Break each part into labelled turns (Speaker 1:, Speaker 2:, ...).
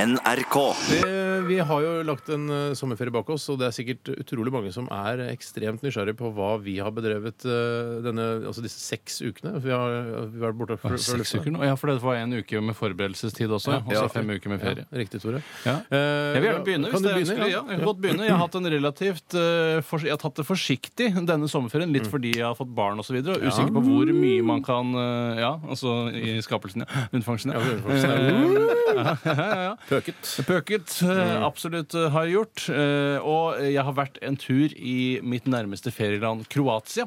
Speaker 1: NRK.
Speaker 2: Det, vi har jo lagt en eh, sommerferie bak oss, og det er sikkert utrolig mange som er ekstremt nysgjerrig på hva vi har bedrevet eh, denne, altså disse seks ukene. Vi har, vi har vært borte fra, fra
Speaker 3: Seks
Speaker 2: luften.
Speaker 3: uker nå? Ja, for det var en uke med forberedelsestid også. Og så fem uker med ferie.
Speaker 2: Ja, riktig, Tore.
Speaker 3: Ja.
Speaker 2: Eh,
Speaker 3: Jeg vil gjerne begynne.
Speaker 2: kan
Speaker 3: hvis
Speaker 2: du
Speaker 3: det er
Speaker 2: begynne?
Speaker 3: ønskelig. Ja, jeg kan godt begynne. Jeg har hatt en relativt eh, fors- Jeg har tatt det forsiktig denne sommerferien,
Speaker 2: Mm.
Speaker 3: litt fordi jeg har fått barn osv. Og, så videre, og usikker på hvor mye man kan eh, Ja, altså i skapelsen, ja. Unnfangelsen, ja. Eh, ja, ja, ja.
Speaker 2: Pøket.
Speaker 3: Pøket,
Speaker 2: Mm.
Speaker 3: eh, absolutt eh, har jeg gjort. Eh, Og jeg har vært en tur i mitt nærmeste ferieland, Kroatia.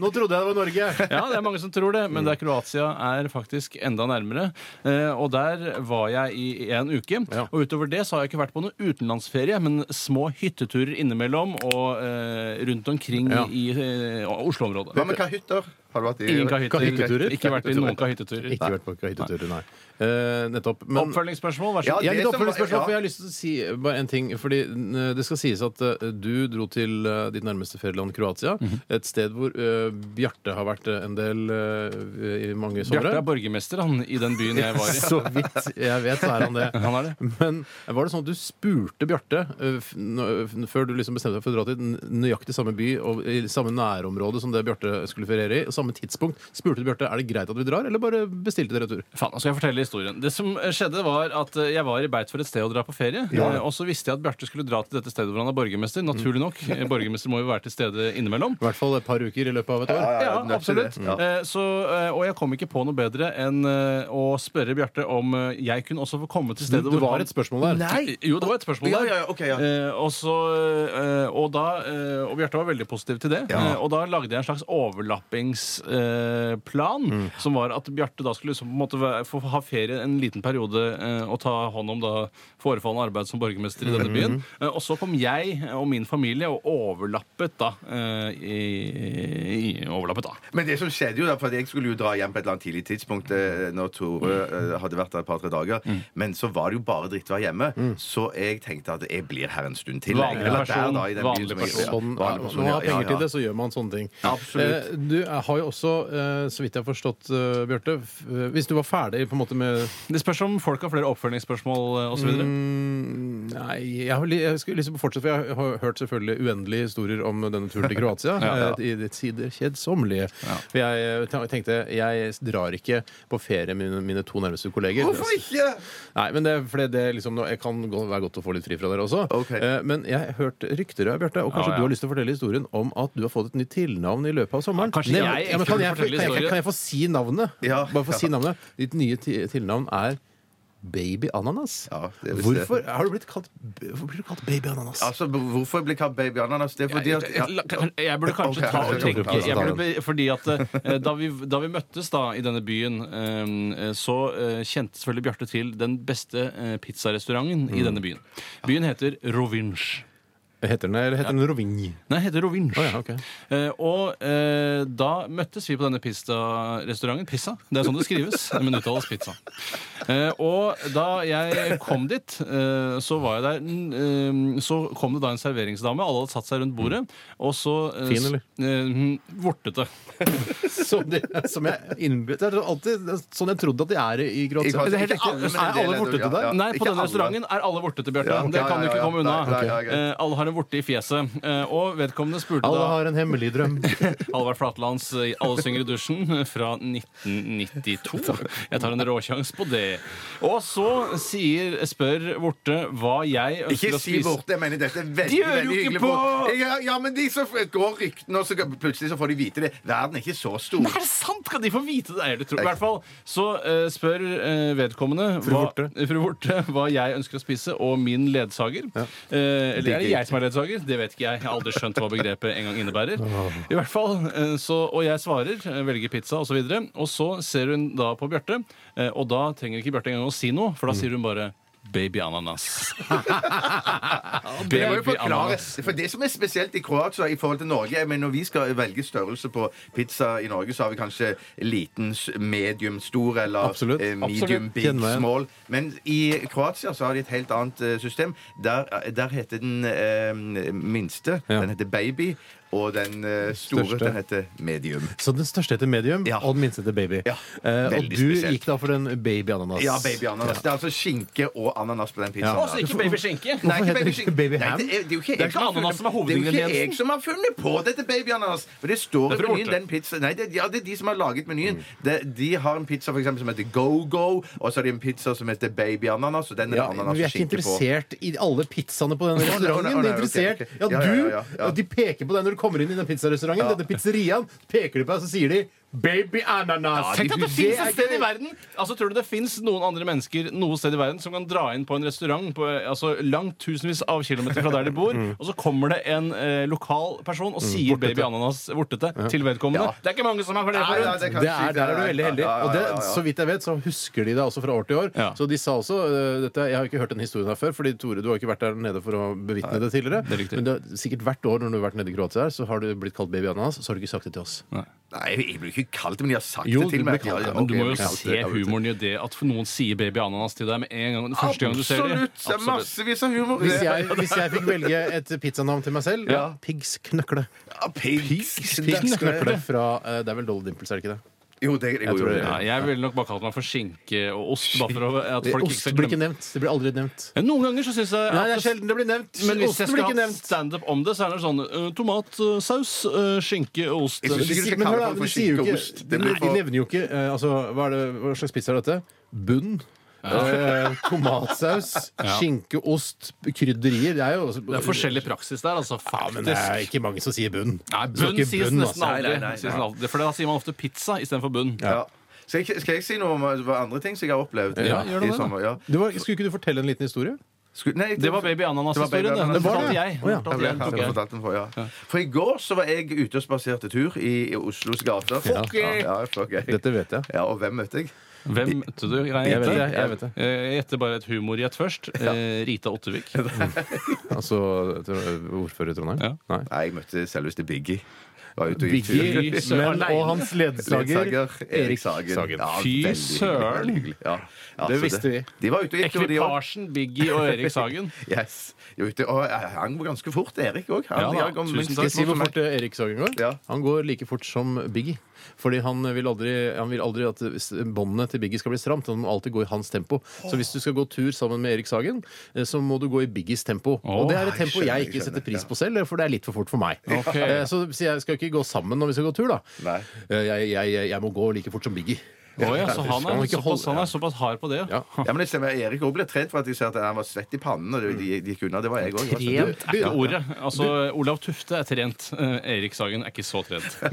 Speaker 2: Nå trodde jeg det var Norge!
Speaker 3: Ja, det er mange som tror det, men det er Kroatia er faktisk enda nærmere. Eh, og der var jeg i en uke.
Speaker 2: Ja.
Speaker 3: Og utover det så har jeg ikke vært på noen utenlandsferie, men små hytteturer innimellom og eh, rundt omkring
Speaker 2: Ja.
Speaker 3: i eh, Oslo-området.
Speaker 4: Hva med kahytter? Har du vært i
Speaker 3: Ingen kahytteturer.
Speaker 2: Kahytteturer?
Speaker 3: Ikke vært i noen kahytteturer.
Speaker 2: Ikke vært på hyttetur, nei. Eh, nettopp. Men
Speaker 3: Oppfølgingsspørsmål, vær så
Speaker 4: Ja,
Speaker 3: god.
Speaker 2: jeg har litt
Speaker 4: det som var-
Speaker 2: oppfølgingsspørsmål,
Speaker 4: ja.
Speaker 2: for jeg har lyst til å si bare en ting. Fordi eh, det skal sies at eh, du dro til eh, ditt nærmeste ferieland, Kroatia.
Speaker 3: Mhm.
Speaker 2: Et sted hvor eh, Bjarte har vært eh, en del eh, i mange
Speaker 3: Bjarte
Speaker 2: somre.
Speaker 3: er borgermester han, i den byen jeg var i.
Speaker 2: Så vidt jeg vet, så er han det.
Speaker 3: Han er det.
Speaker 2: Men var det sånn at du spurte Bjarte eh, f- nå- f- før du liksom bestemte deg for å dra til n- nøyaktig samme by og i samme nærområde som det Bjarte skulle feriere i, og samme tidspunkt? Spurte du Bjarte er det greit at vi drar, eller bare bestilte dere tur?
Speaker 3: Faen, nå skal jeg fortelle historien. Det som skjedde var at eh, Jeg var i beit for et sted å dra på ferie. eh, Og så visste jeg at Bjarte skulle dra til dette stedet hvor han er borgermester. Naturlig nok.
Speaker 4: Mm.
Speaker 3: Eh, Borgermester må jo være til stede innimellom.
Speaker 2: I hvert fall et par uker i løpet av et år.
Speaker 4: Ja,
Speaker 3: Ja,
Speaker 4: nødt til
Speaker 3: absolutt.
Speaker 4: det. Ja.
Speaker 3: Eh, Så, eh, og jeg kom ikke på noe bedre enn eh, å spørre Bjarte om eh, jeg kunne også få komme til stedet
Speaker 2: Det, det var et spørsmål der.
Speaker 3: Nei! Jo, det var et spørsmål
Speaker 4: Ja,
Speaker 3: der.
Speaker 4: ja, ja, ok, ja.
Speaker 3: Eh, og, så, eh, og, da, eh, og Bjarte var veldig positiv til det. Eh, og da lagde jeg en slags overlappingsplan. Eh, plan,
Speaker 4: Mm.
Speaker 3: Som var at Bjarte da skulle liksom, på en måte, være- få ha ferie en liten periode eh, og ta hånd om da forefallende arbeid som borgermester i
Speaker 4: Mm.
Speaker 3: denne byen. Eh, og så kom jeg og min familie og overlappet da. Eh, i, i, overlappet da.
Speaker 4: Men det som skjedde jo da, for jeg skulle jo dra hjem på et eller annet tidlig tidspunkt eh, når Tore eh, hadde vært der et par-tre dager,
Speaker 3: Mm.
Speaker 4: men så var det jo bare drittvær hjemme, så jeg tenkte at jeg blir her en stund til.
Speaker 3: Vanlig
Speaker 4: jeg. Eller
Speaker 3: person,
Speaker 4: i den byen
Speaker 3: vanlig
Speaker 4: som jeg-
Speaker 3: person.
Speaker 4: ja,
Speaker 2: Sånn, ja,
Speaker 4: vanlig
Speaker 2: når
Speaker 4: person,
Speaker 2: man
Speaker 4: ja,
Speaker 2: har penger
Speaker 4: ja, ja.
Speaker 2: til det, så gjør man sånne ting.
Speaker 4: Absolutt.
Speaker 2: Eh, Du eh, har jo også, eh, så vidt jeg har forstått, eh, Bjarte f- eh, Hvis du var ferdig på en måte med
Speaker 3: Det spørs om folk har flere oppfølgingsspørsmål osv. videre
Speaker 2: Mm, Nei, jeg, har li- jeg skulle liksom fortsette, for jeg har hørt selvfølgelig uendelige historier om denne turen til Kroatia.
Speaker 3: Ja.
Speaker 2: eh, I det sider kjedsommelige. For jeg eh, ten- tenkte jeg drar ikke på ferie med mine, mine to nærmeste kolleger.
Speaker 4: Hvorfor ikke?
Speaker 2: Nei, men det, er fordi det er liksom, nå- Jeg kan gå, være godt å få litt fri fra dere også.
Speaker 4: Ok.
Speaker 2: Eh, Men jeg har hørt rykter, ja, Bjarte, og kanskje
Speaker 3: Ja, ja.
Speaker 2: du har lyst til å fortelle historien om at du har fått et nytt tilnavn i løpet av sommeren.
Speaker 3: Ja, kanskje
Speaker 2: Nei,
Speaker 3: jeg
Speaker 2: ja, men
Speaker 3: ikke
Speaker 2: kan,
Speaker 3: vil
Speaker 2: jeg, kan,
Speaker 3: fortelle
Speaker 2: jeg, kan,
Speaker 3: historien.
Speaker 2: jeg, få si navnet?
Speaker 4: Ja.
Speaker 2: Bare få
Speaker 4: Ja.
Speaker 2: si navnet. Ditt nye ti- tilnavn er Baby Ananas.
Speaker 4: Ja, det visste jeg.
Speaker 2: Hvorfor har du blitt kalt, hvorfor blir du kalt Baby Ananas?
Speaker 4: Altså, hvorfor jeg ble kalt Baby Ananas? Det er fordi at ja.
Speaker 3: La- kan- Jeg burde kanskje
Speaker 4: Ok,
Speaker 3: ta og
Speaker 4: ok,
Speaker 3: tenke
Speaker 2: ok.
Speaker 3: jeg burde, be- Fordi at eh, da vi, da vi møttes da i denne byen, eh, så eh, kjente selvfølgelig Bjarte til den beste eh, pizzarestauranten
Speaker 4: Mm.
Speaker 3: i denne byen. Byen heter Rovinj.
Speaker 2: Heter den det, eller heter den Rovinj?
Speaker 3: Nei, heter Rovinj.
Speaker 2: Å ja, ok.
Speaker 3: Eh, og eh, da møttes vi på denne pizzarestauranten. Pizza. Det er sånn det skrives, men uttales pizza. Eh, og da jeg kom dit, eh, så var jeg der n- eh, Så kom det da en serveringsdame. Alle hadde satt seg rundt bordet. Og så eh,
Speaker 2: Fin, eller?
Speaker 3: s- Eh, vortete.
Speaker 2: Som, det, som jeg innbyr- Det er alltid sånn jeg trodde at de er i
Speaker 4: I
Speaker 2: Kroatia.
Speaker 4: Kroatia.
Speaker 2: Det er helt
Speaker 4: Ikke alle, men en
Speaker 2: Er
Speaker 4: del
Speaker 2: alle
Speaker 4: er det,
Speaker 2: borte
Speaker 4: ja,
Speaker 2: til deg?
Speaker 4: ja.
Speaker 3: Nei, på
Speaker 4: Ikke
Speaker 3: denne
Speaker 4: alle.
Speaker 3: restauranten er alle vortete, Bjarte.
Speaker 4: Ja, ok,
Speaker 3: det kan du
Speaker 4: ja,
Speaker 3: ikke
Speaker 4: ja,
Speaker 3: komme
Speaker 4: ja.
Speaker 3: unna.
Speaker 4: Nei, nei, nei,
Speaker 3: Eh, alle har en vorte i fjeset. Eh, og vedkommende spurte
Speaker 2: Alle
Speaker 3: da
Speaker 2: har en hemmelig drøm.
Speaker 3: Halvard Flatlands eh, Alle synger i dusjen eh, fra 1992. Jeg tar en råsjans på det. Og så sier, spør Vorte hva jeg ønsker
Speaker 4: Ikke
Speaker 3: å
Speaker 4: si
Speaker 3: spise.
Speaker 4: borte. Jeg mener, dette er
Speaker 3: De
Speaker 4: veldig
Speaker 3: hører jo
Speaker 4: veldig
Speaker 3: ikke
Speaker 4: hyggelig.
Speaker 3: på!
Speaker 4: folk. Ja, ja, men de som går ryktene, og så plutselig så får de vite det. Verden er ikke så stor.
Speaker 3: Nei, er det sant? Kan de få vite det? Nei, det tror- I hvert fall så eh, spør eh, vedkommende
Speaker 2: Fru
Speaker 3: hva-
Speaker 2: Vorte.
Speaker 3: eh, fru Vorte hva jeg ønsker å spise, og min ledsager. Eh, eller er det jeg som er ledsager? Det vet ikke jeg. Jeg har aldri skjønt hva begrepet en gang innebærer. I hvert fall, eh, så, Og jeg svarer, eh, velger pizza osv. Og, så videre, og så ser hun da på Bjarte, eh, og da trenger ikke Bjarte engang å si noe, for da sier hun bare Baby ananas.
Speaker 4: Det må jo
Speaker 3: Baby
Speaker 4: forklare.
Speaker 3: ananas.
Speaker 4: For det som er spesielt i Kroatia i forhold til Norge jeg mener Når vi skal velge størrelse på pizza i Norge, så har vi kanskje liten, s- medium, stor eller
Speaker 2: Absolutt.
Speaker 4: eh, medium,
Speaker 2: Absolutt.
Speaker 4: big,
Speaker 2: Kjenner meg igjen.
Speaker 4: small. Men i Kroatia så har de et helt annet eh, system. Der, der heter den eh, minste
Speaker 2: Ja.
Speaker 4: Den heter baby. og den eh, store,
Speaker 2: Største.
Speaker 4: den heter medium.
Speaker 2: Så den største heter medium,
Speaker 4: Ja.
Speaker 2: og den minste heter baby.
Speaker 4: Ja,
Speaker 2: Eh, og
Speaker 4: veldig
Speaker 2: du
Speaker 4: spesielt.
Speaker 2: gikk da for den baby ananas.
Speaker 4: Ja, baby ananas. Det er altså skinke og ananas på den
Speaker 2: Ja.
Speaker 4: pizzaen. da.
Speaker 3: Altså ikke babyskinke.
Speaker 4: Nei,
Speaker 2: Hvorfor heter det ikke
Speaker 4: skinke.
Speaker 2: baby
Speaker 4: Nei,
Speaker 2: ham?
Speaker 4: det, er, det er jo ikke,
Speaker 3: Det er
Speaker 4: jeg
Speaker 3: ikke ananas som er
Speaker 4: funnet- Det er jo
Speaker 3: hovedingrediensen.
Speaker 4: ikke jeg som har funnet på dette baby-ananas. For det står
Speaker 3: Det er Mm.
Speaker 4: i
Speaker 3: fra
Speaker 4: menyen.
Speaker 3: Orte.
Speaker 4: den pizza, Nei, det, ja, det er de som har laget menyen. De, de har en pizza for eksempel, som heter Go-Go, og så har de en pizza som heter baby-ananas, og den er
Speaker 2: Ja,
Speaker 4: det
Speaker 2: men
Speaker 4: ananas
Speaker 2: vi er
Speaker 4: og
Speaker 2: ikke
Speaker 4: skinke på.
Speaker 2: interessert i alle pizzaene på den
Speaker 4: Å, nei,
Speaker 2: restauranten.
Speaker 4: å, nei,
Speaker 2: Vi
Speaker 4: ok,
Speaker 2: er interessert
Speaker 4: ok.
Speaker 2: Ja,
Speaker 4: Ja, ja, ja,
Speaker 2: du
Speaker 4: ja.
Speaker 2: ja, De peker på deg når du kommer inn i den pizzarestauranten. Denne pizzeriaen peker de på deg, så sier de 'baby ananas'.
Speaker 3: Tenk at det
Speaker 2: er
Speaker 3: fins et sted
Speaker 2: gøy.
Speaker 3: i verden Altså, Tror du det fins noen andre mennesker noe sted i verden som kan dra inn på en restaurant på, eh, altså, langt tusenvis av kilometer fra der de bor, og så kommer det en eh, lokal person og sier baby ananas vortete til vedkommende? Det er ikke mange som er for det
Speaker 4: Nei, nei,
Speaker 3: forut.
Speaker 4: det kan
Speaker 2: Det
Speaker 4: jeg
Speaker 2: er,
Speaker 4: si.
Speaker 2: der er du veldig heldig.
Speaker 4: Ja, ja,
Speaker 2: Og
Speaker 4: ja,
Speaker 2: det,
Speaker 4: ja, ja.
Speaker 2: så vidt jeg vet, så husker de det også fra år til år.
Speaker 3: Ja.
Speaker 2: Så de sa også øh, dette, Jeg har ikke hørt den historien her før, Fordi Tore, du har ikke vært der nede for å bevitne det tidligere.
Speaker 3: det er riktig.
Speaker 2: Men det er sikkert hvert år når du har vært nede i Kroatia, her, så har du blitt kalt baby ananas, så har du ikke sagt det til oss.
Speaker 4: Nei, jeg blir ikke kalt det, men de har sagt
Speaker 2: Jo,
Speaker 4: det til
Speaker 2: du
Speaker 4: meg.
Speaker 2: blir kalt det,
Speaker 4: Ja, ja,
Speaker 3: Men du
Speaker 4: ok,
Speaker 3: må
Speaker 4: jeg
Speaker 3: jo
Speaker 4: blir kalt det,
Speaker 3: se
Speaker 4: ja, vet du.
Speaker 3: humoren i det at noen sier baby ananas til deg med en gang, den første gang du ser dem.
Speaker 4: Absolutt! Det er massevis av humor.
Speaker 2: Hvis jeg, hvis jeg fikk velge et pizzanavn til meg selv
Speaker 3: Ja.
Speaker 2: Pigs Knøkle.
Speaker 4: Ja, Pigs.
Speaker 2: Pigs Knøkle fra eh, Det er vel Dolly Dimples, er det ikke det?
Speaker 4: Jo, det er
Speaker 2: Jeg tror det
Speaker 3: Ja, jeg ville nok bare kalt meg for skinke og ost. Bare for å, at folk ikke
Speaker 2: Ost
Speaker 3: skal
Speaker 2: blir ikke
Speaker 3: glemme.
Speaker 2: nevnt. Det blir aldri nevnt.
Speaker 3: Ja, Noen ganger så syns jeg
Speaker 2: Nei,
Speaker 3: at
Speaker 2: det er sjelden det blir nevnt.
Speaker 3: Men hvis
Speaker 2: Osten
Speaker 3: jeg skal ha standup om det, så er det sånn eh, tomat, eh, saus, eh, skinke og ost.
Speaker 4: Jeg synes
Speaker 2: De
Speaker 4: ikke- du
Speaker 2: sier-
Speaker 4: skal
Speaker 2: men
Speaker 4: kalle
Speaker 2: hør da,
Speaker 4: folk for
Speaker 2: de sier jo
Speaker 4: skinke og
Speaker 2: ikke-
Speaker 4: ost. Det
Speaker 2: de
Speaker 4: blir
Speaker 2: de
Speaker 4: for-
Speaker 2: nevner jo ikke eh, altså, hva, er det, hva slags pizza er dette? Bunn? Eh, tomatsaus,
Speaker 3: Ja.
Speaker 2: skinke, ost, krydderier. Det er jo også,
Speaker 3: Det er forskjellig praksis der, altså.
Speaker 2: Ja, men det
Speaker 3: Faktisk.
Speaker 2: er ikke mange som sier bunn.
Speaker 3: Nei,
Speaker 2: Det står
Speaker 3: bunn
Speaker 2: ikke
Speaker 3: sies
Speaker 2: bunn,
Speaker 3: nesten
Speaker 2: altså.
Speaker 3: aldri.
Speaker 4: Nei, nei, nei,
Speaker 3: Sies aldri. For da sier man ofte pizza istedenfor bunn.
Speaker 4: Ja. Skal jeg, skal jeg si noe om hva andre ting som jeg har opplevd?
Speaker 3: Ja, gjør det,
Speaker 4: i
Speaker 3: da.
Speaker 4: sommer? Ja.
Speaker 2: Du var, skulle ikke du fortelle en liten historie?
Speaker 4: Skulle- nei,
Speaker 3: Det var baby
Speaker 4: Det var
Speaker 3: ananas-historien.
Speaker 4: baby
Speaker 3: Den
Speaker 4: ananas.
Speaker 2: Det var
Speaker 3: fortalte
Speaker 2: det, ja.
Speaker 3: jeg.
Speaker 2: Å, ja.
Speaker 3: Fortalte
Speaker 4: Jeg
Speaker 3: jeg,
Speaker 4: ble-
Speaker 3: tok
Speaker 4: jeg
Speaker 3: jeg.
Speaker 4: fortalte den for, ja. for i går så var jeg ute og spaserte tur i, i Oslos gater.
Speaker 2: Fuck
Speaker 4: ja. Ja, fuck jeg.
Speaker 2: Dette vet jeg.
Speaker 4: ja, og hvem møtte jeg?
Speaker 3: Hvem møtte du? Nei,
Speaker 2: Jeg vet
Speaker 3: gjetter.
Speaker 2: det. jeg vet det
Speaker 3: Eh, Jeg gjetter bare et humorgjett først. Eh, Rita Ottervik.
Speaker 2: Altså ordfører i Trondheim?
Speaker 3: Ja.
Speaker 2: Nei.
Speaker 4: Nei, jeg møtte selveste Biggie. Var ute og gikk tur.
Speaker 2: Biggie, men, og hans ledsager
Speaker 4: Erik Sagen. Ja,
Speaker 3: Fy
Speaker 4: veldig hyggelig,
Speaker 3: søren.
Speaker 4: veldig hyggelig. Ja. Ja,
Speaker 2: Det
Speaker 4: så
Speaker 2: visste vi.
Speaker 4: De var ute og gikk tur, de også.
Speaker 3: Ekvipasjen Biggie og Erik Sagen.
Speaker 4: Yes. De var ute, og jeg hang ganske fort, Erik òg.
Speaker 3: Ja da, tusen
Speaker 2: Skal jeg si hvor fort eh, Erik Sagen går?
Speaker 4: Ja.
Speaker 2: Han går like fort som Biggie. Fordi han vil aldri, han vil aldri at eh, s- båndene til Biggie skal bli stramt. Han må alltid gå i hans tempo. Så hvis du skal gå tur sammen med Erik Sagen, eh, så må du gå i Biggies tempo. Og det er et
Speaker 4: jeg
Speaker 2: tempo
Speaker 4: skjønner,
Speaker 2: jeg
Speaker 4: jeg
Speaker 2: ikke setter
Speaker 4: skjønner.
Speaker 2: pris på selv, for det er litt for fort for meg.
Speaker 3: Ok.
Speaker 2: Eh, Så så jeg skal ikke gå sammen når vi skal gå tur, da.
Speaker 4: Nei.
Speaker 2: Eh, Jeg, jeg, jeg- jeg må gå like fort som Biggie.
Speaker 3: Å ja, så han
Speaker 2: Skal
Speaker 3: er
Speaker 2: man ikke
Speaker 3: såpass,
Speaker 2: holde-
Speaker 3: han er såpass hard på det.
Speaker 2: Ja.
Speaker 4: Ja, men det stemmer. Erik òg ble trent for at de ser at han var svett i pannen. Og det- de, de gikk unna. Det var jeg òg.
Speaker 2: Trent
Speaker 3: Det er ordet. Altså, Olav Tufte er trent. Eh, Erik Sagen er ikke så trent.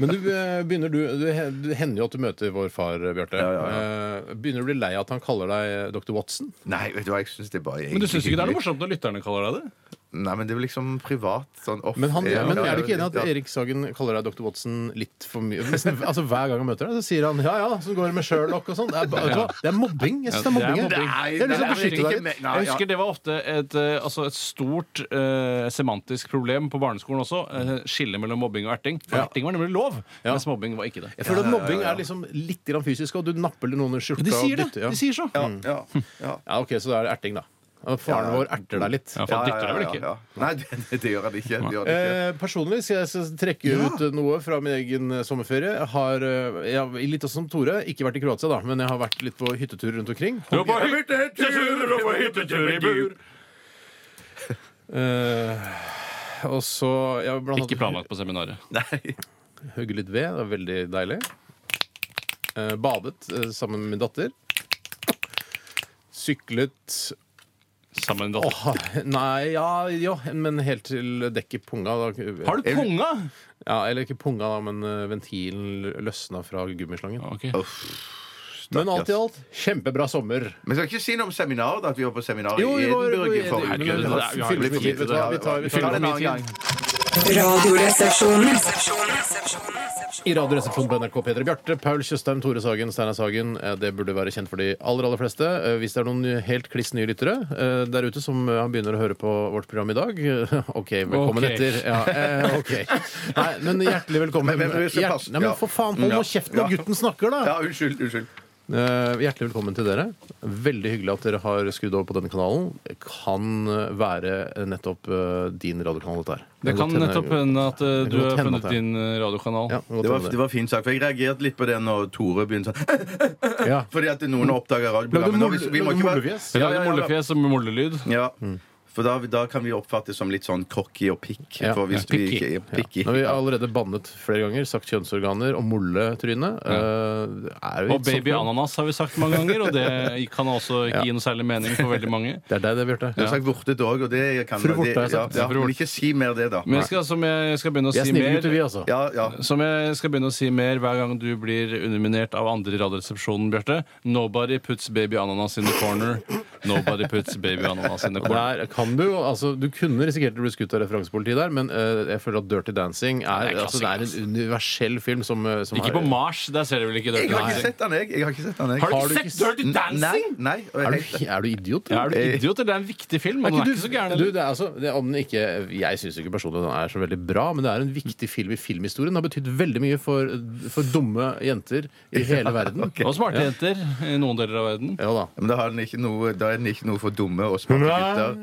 Speaker 2: Men du, eh, begynner du, du det hender jo at du møter vår far, eh, Bjarte. Eh, Begynner du å bli lei av at han kaller deg dr. Watson?
Speaker 4: Nei, vet du hva, jeg syns det er bare
Speaker 3: Men du syns ikke det er noe
Speaker 4: hyggelig.
Speaker 3: morsomt når lytterne kaller deg det?
Speaker 4: Nei, men det er vel liksom privat sånn off
Speaker 2: Men, han,
Speaker 4: Ja,
Speaker 2: men
Speaker 4: ja,
Speaker 2: er du ikke enig i
Speaker 4: ja.
Speaker 2: at Erik Sagen kaller deg dr. Watson litt for mye? Nesten- Altså Hver gang han møter deg, så sier han ja ja, så går det med Sherlock og sånn. Det, er ba- vet du hva? det er mobbing. Jeg synes det er mobbing. jeg.
Speaker 4: mobbing. Nei,
Speaker 2: Jeg har lyst til å
Speaker 4: nei,
Speaker 2: beskytte
Speaker 4: ikke
Speaker 2: deg litt.
Speaker 4: med- nei,
Speaker 3: Jeg
Speaker 4: ja.
Speaker 3: husker Det var ofte et, eh, altså et stort eh, semantisk problem på barneskolen også. Eh, Skillet mellom mobbing og erting. For
Speaker 2: Ja.
Speaker 3: erting var nemlig lov,
Speaker 2: Ja.
Speaker 3: mens mobbing var ikke det.
Speaker 2: Jeg føler at mobbing er liksom litt grann fysisk, og du napper noen i skjorta.
Speaker 3: De sier
Speaker 2: og
Speaker 3: det!
Speaker 2: dytter, ja.
Speaker 3: De sier så.
Speaker 2: Mm.
Speaker 4: Ja, ja, ja.
Speaker 2: Ja, ok, Så da er det erting, da. Og Faren vår erter deg litt.
Speaker 3: Ja, for
Speaker 4: Ja,
Speaker 3: han
Speaker 4: ja,
Speaker 3: dytter deg vel
Speaker 4: ja,
Speaker 3: ikke?
Speaker 4: ja. Nei, det, det gjør han ikke. Det gjør han ikke.
Speaker 2: Eh, personlig skal jeg s- trekke ut eh, noe fra min egen eh, sommerferie. Jeg Har, eh, jeg, har- litt også som Tore, ikke vært i Kroatia, da, men jeg har vært litt på hyttetur rundt omkring.
Speaker 3: Du var på hyttetur og på hyttetur i bur.
Speaker 2: Eh, og så jeg har blant annet
Speaker 3: Ikke planlagt på seminaret.
Speaker 4: Nei.
Speaker 2: hugge litt ved. Det var veldig deilig. Eh, badet eh, sammen med min datter. Syklet
Speaker 3: Sammen med en datter.
Speaker 2: Åh, Nei, ja, jo, men helt til dekket punga. Da.
Speaker 3: Har du punga?
Speaker 2: Ja, eller ikke punga, da, men eh, ventilen løsna fra gummislangen.
Speaker 3: Ok.
Speaker 2: Men alt i alt, kjempebra sommer.
Speaker 4: Men skal ikke si noe om seminaret, da, at vi var på seminar i
Speaker 2: Jo, vi var-
Speaker 4: Edinburgh i forrige
Speaker 2: Herregud,
Speaker 4: uke.
Speaker 2: det er-
Speaker 4: Ja,
Speaker 2: vi har litt
Speaker 4: for
Speaker 2: tid til det.
Speaker 4: Ja,
Speaker 2: Vi tar- vi tar
Speaker 4: det en
Speaker 2: det
Speaker 4: annen gang.
Speaker 1: Radioresepsjonen.
Speaker 2: I Radioresepsjonen på NRK P3 Bjarte, Paul Tjøstheim, Tore Sagen, Steinar Sagen. Eh, Det burde være kjent for de aller aller fleste. Eh, Hvis det er noen nye- helt kliss nye lyttere eh, der ute som eh, begynner å høre på vårt program i dag eh, OK, velkommen
Speaker 3: Ok.
Speaker 2: etter. Ja, eh, ok. Nei, men hjertelig velkommen.
Speaker 4: Men- men vi skal
Speaker 2: Hjert-
Speaker 4: passe-
Speaker 2: Nei, men
Speaker 4: ja.
Speaker 2: for faen, hold nå kjeft når
Speaker 4: Ja.
Speaker 2: gutten snakker, da!
Speaker 4: Ja, unnskyld. unnskyld
Speaker 2: Eh, hjertelig velkommen til dere. Veldig hyggelig at dere har skrudd over på denne kanalen. Kan eh, være nettopp eh, din radiokanal, dette her.
Speaker 3: Det kan
Speaker 2: godt hende-
Speaker 3: nettopp hende at eh,
Speaker 2: Det kan
Speaker 3: du
Speaker 2: godt hende at
Speaker 3: har funnet
Speaker 2: det er-
Speaker 3: din eh, radiokanal.
Speaker 2: Ja, godt
Speaker 4: Det var,
Speaker 2: hende
Speaker 4: det var fin sak, for Jeg reagerte litt på det når Tore begynte sånn
Speaker 2: Ja.
Speaker 4: Fordi at noen oppdager radioprogrammet. Nå, vi- vi må ikke være-
Speaker 2: mollefjes.
Speaker 3: Jeg
Speaker 4: Ja,
Speaker 3: Lagde
Speaker 4: ja, ja, ja.
Speaker 3: mollefjes og mollelyd.
Speaker 4: Ja.
Speaker 2: Mm.
Speaker 4: For da, da kan vi oppfattes som litt sånn cocky og pikk.
Speaker 2: Ja,
Speaker 4: For hvis
Speaker 3: ja,
Speaker 4: vi
Speaker 3: picky.
Speaker 4: ikke er picky.
Speaker 2: Nå har vi allerede bannet flere ganger, sagt kjønnsorganer og molletryne. Eh, er jo
Speaker 3: Og
Speaker 2: litt
Speaker 3: baby
Speaker 2: sånn-
Speaker 3: ananas har vi sagt mange ganger, og det kan også ikke gi noe særlig mening for veldig mange.
Speaker 2: Det er deg det, Bjarte.
Speaker 4: Jeg har sagt vortet òg, og det kan
Speaker 2: Fru Vorte har jeg
Speaker 4: det, ja,
Speaker 2: sagt.
Speaker 4: ja,
Speaker 2: Fru Vorte.
Speaker 4: Men ikke si mer det, da.
Speaker 3: Men jeg skal, som jeg skal begynne å
Speaker 2: Vi er
Speaker 3: si
Speaker 2: snille gutter, vi,
Speaker 3: mer
Speaker 2: altså.
Speaker 4: Ja, ja.
Speaker 3: som jeg skal begynne å si mer hver gang du blir underminert av andre i Radioresepsjonen, Bjarte. Nobody puts baby ananas in the corner. Nobody puts baby ananas in the corner.
Speaker 2: Der kan du, jo- altså, du kunne risikert å bli skutt av referansepolitiet der, men eh, jeg føler at Dirty Dancing er,
Speaker 3: Det er
Speaker 2: altså, det er en universell film som, eh, som
Speaker 3: Ikke
Speaker 2: er-
Speaker 3: på Mars, der ser du vel ikke
Speaker 4: Jeg
Speaker 3: Dirty
Speaker 4: har ikke
Speaker 3: Dancing?
Speaker 4: sett den, jeg. jeg har ikke sett den, jeg.
Speaker 3: Har
Speaker 2: Har
Speaker 3: du
Speaker 2: du
Speaker 3: ikke sett Dirty
Speaker 4: Nei,
Speaker 3: Dancing?
Speaker 4: nei, og jeg
Speaker 2: er,
Speaker 4: helt-
Speaker 2: du, er du idiot?
Speaker 3: Ja, er du idiot? eller? Det er en viktig film, og den er ikke så gæren.
Speaker 2: Eh, du,
Speaker 3: eller?
Speaker 2: det er altså, det, om den ikke, jeg syns ikke personlig den er så veldig bra, men det er en viktig film i filmhistorien. Den har betydd veldig mye for, for dumme jenter i hele verden.
Speaker 3: Og smarte jenter i noen deler av verden.
Speaker 2: Ja da.
Speaker 4: Men da, har den ikke noe, da er den ikke noe for dumme og smarte gutter.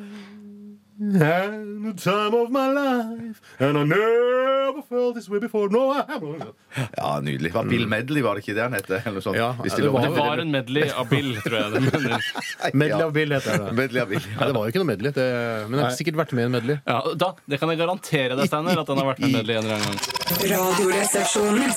Speaker 4: Ja, nydelig. Var Bill Medley, var det ikke det han het? Eller noe sånt.
Speaker 2: Ja,
Speaker 4: Hvis
Speaker 2: det var-
Speaker 3: Det var en medley av Bill, tror jeg. det mener.
Speaker 2: Medley of Bill heter det.
Speaker 4: Medley av Bill.
Speaker 2: Nei, det var jo ikke noe medley. Det, men det har sikkert vært med i en medley.
Speaker 3: Ja, da, det kan jeg garantere deg, Steiner, at den har vært med medley en eller annen gang.
Speaker 1: Radioresepsjonen.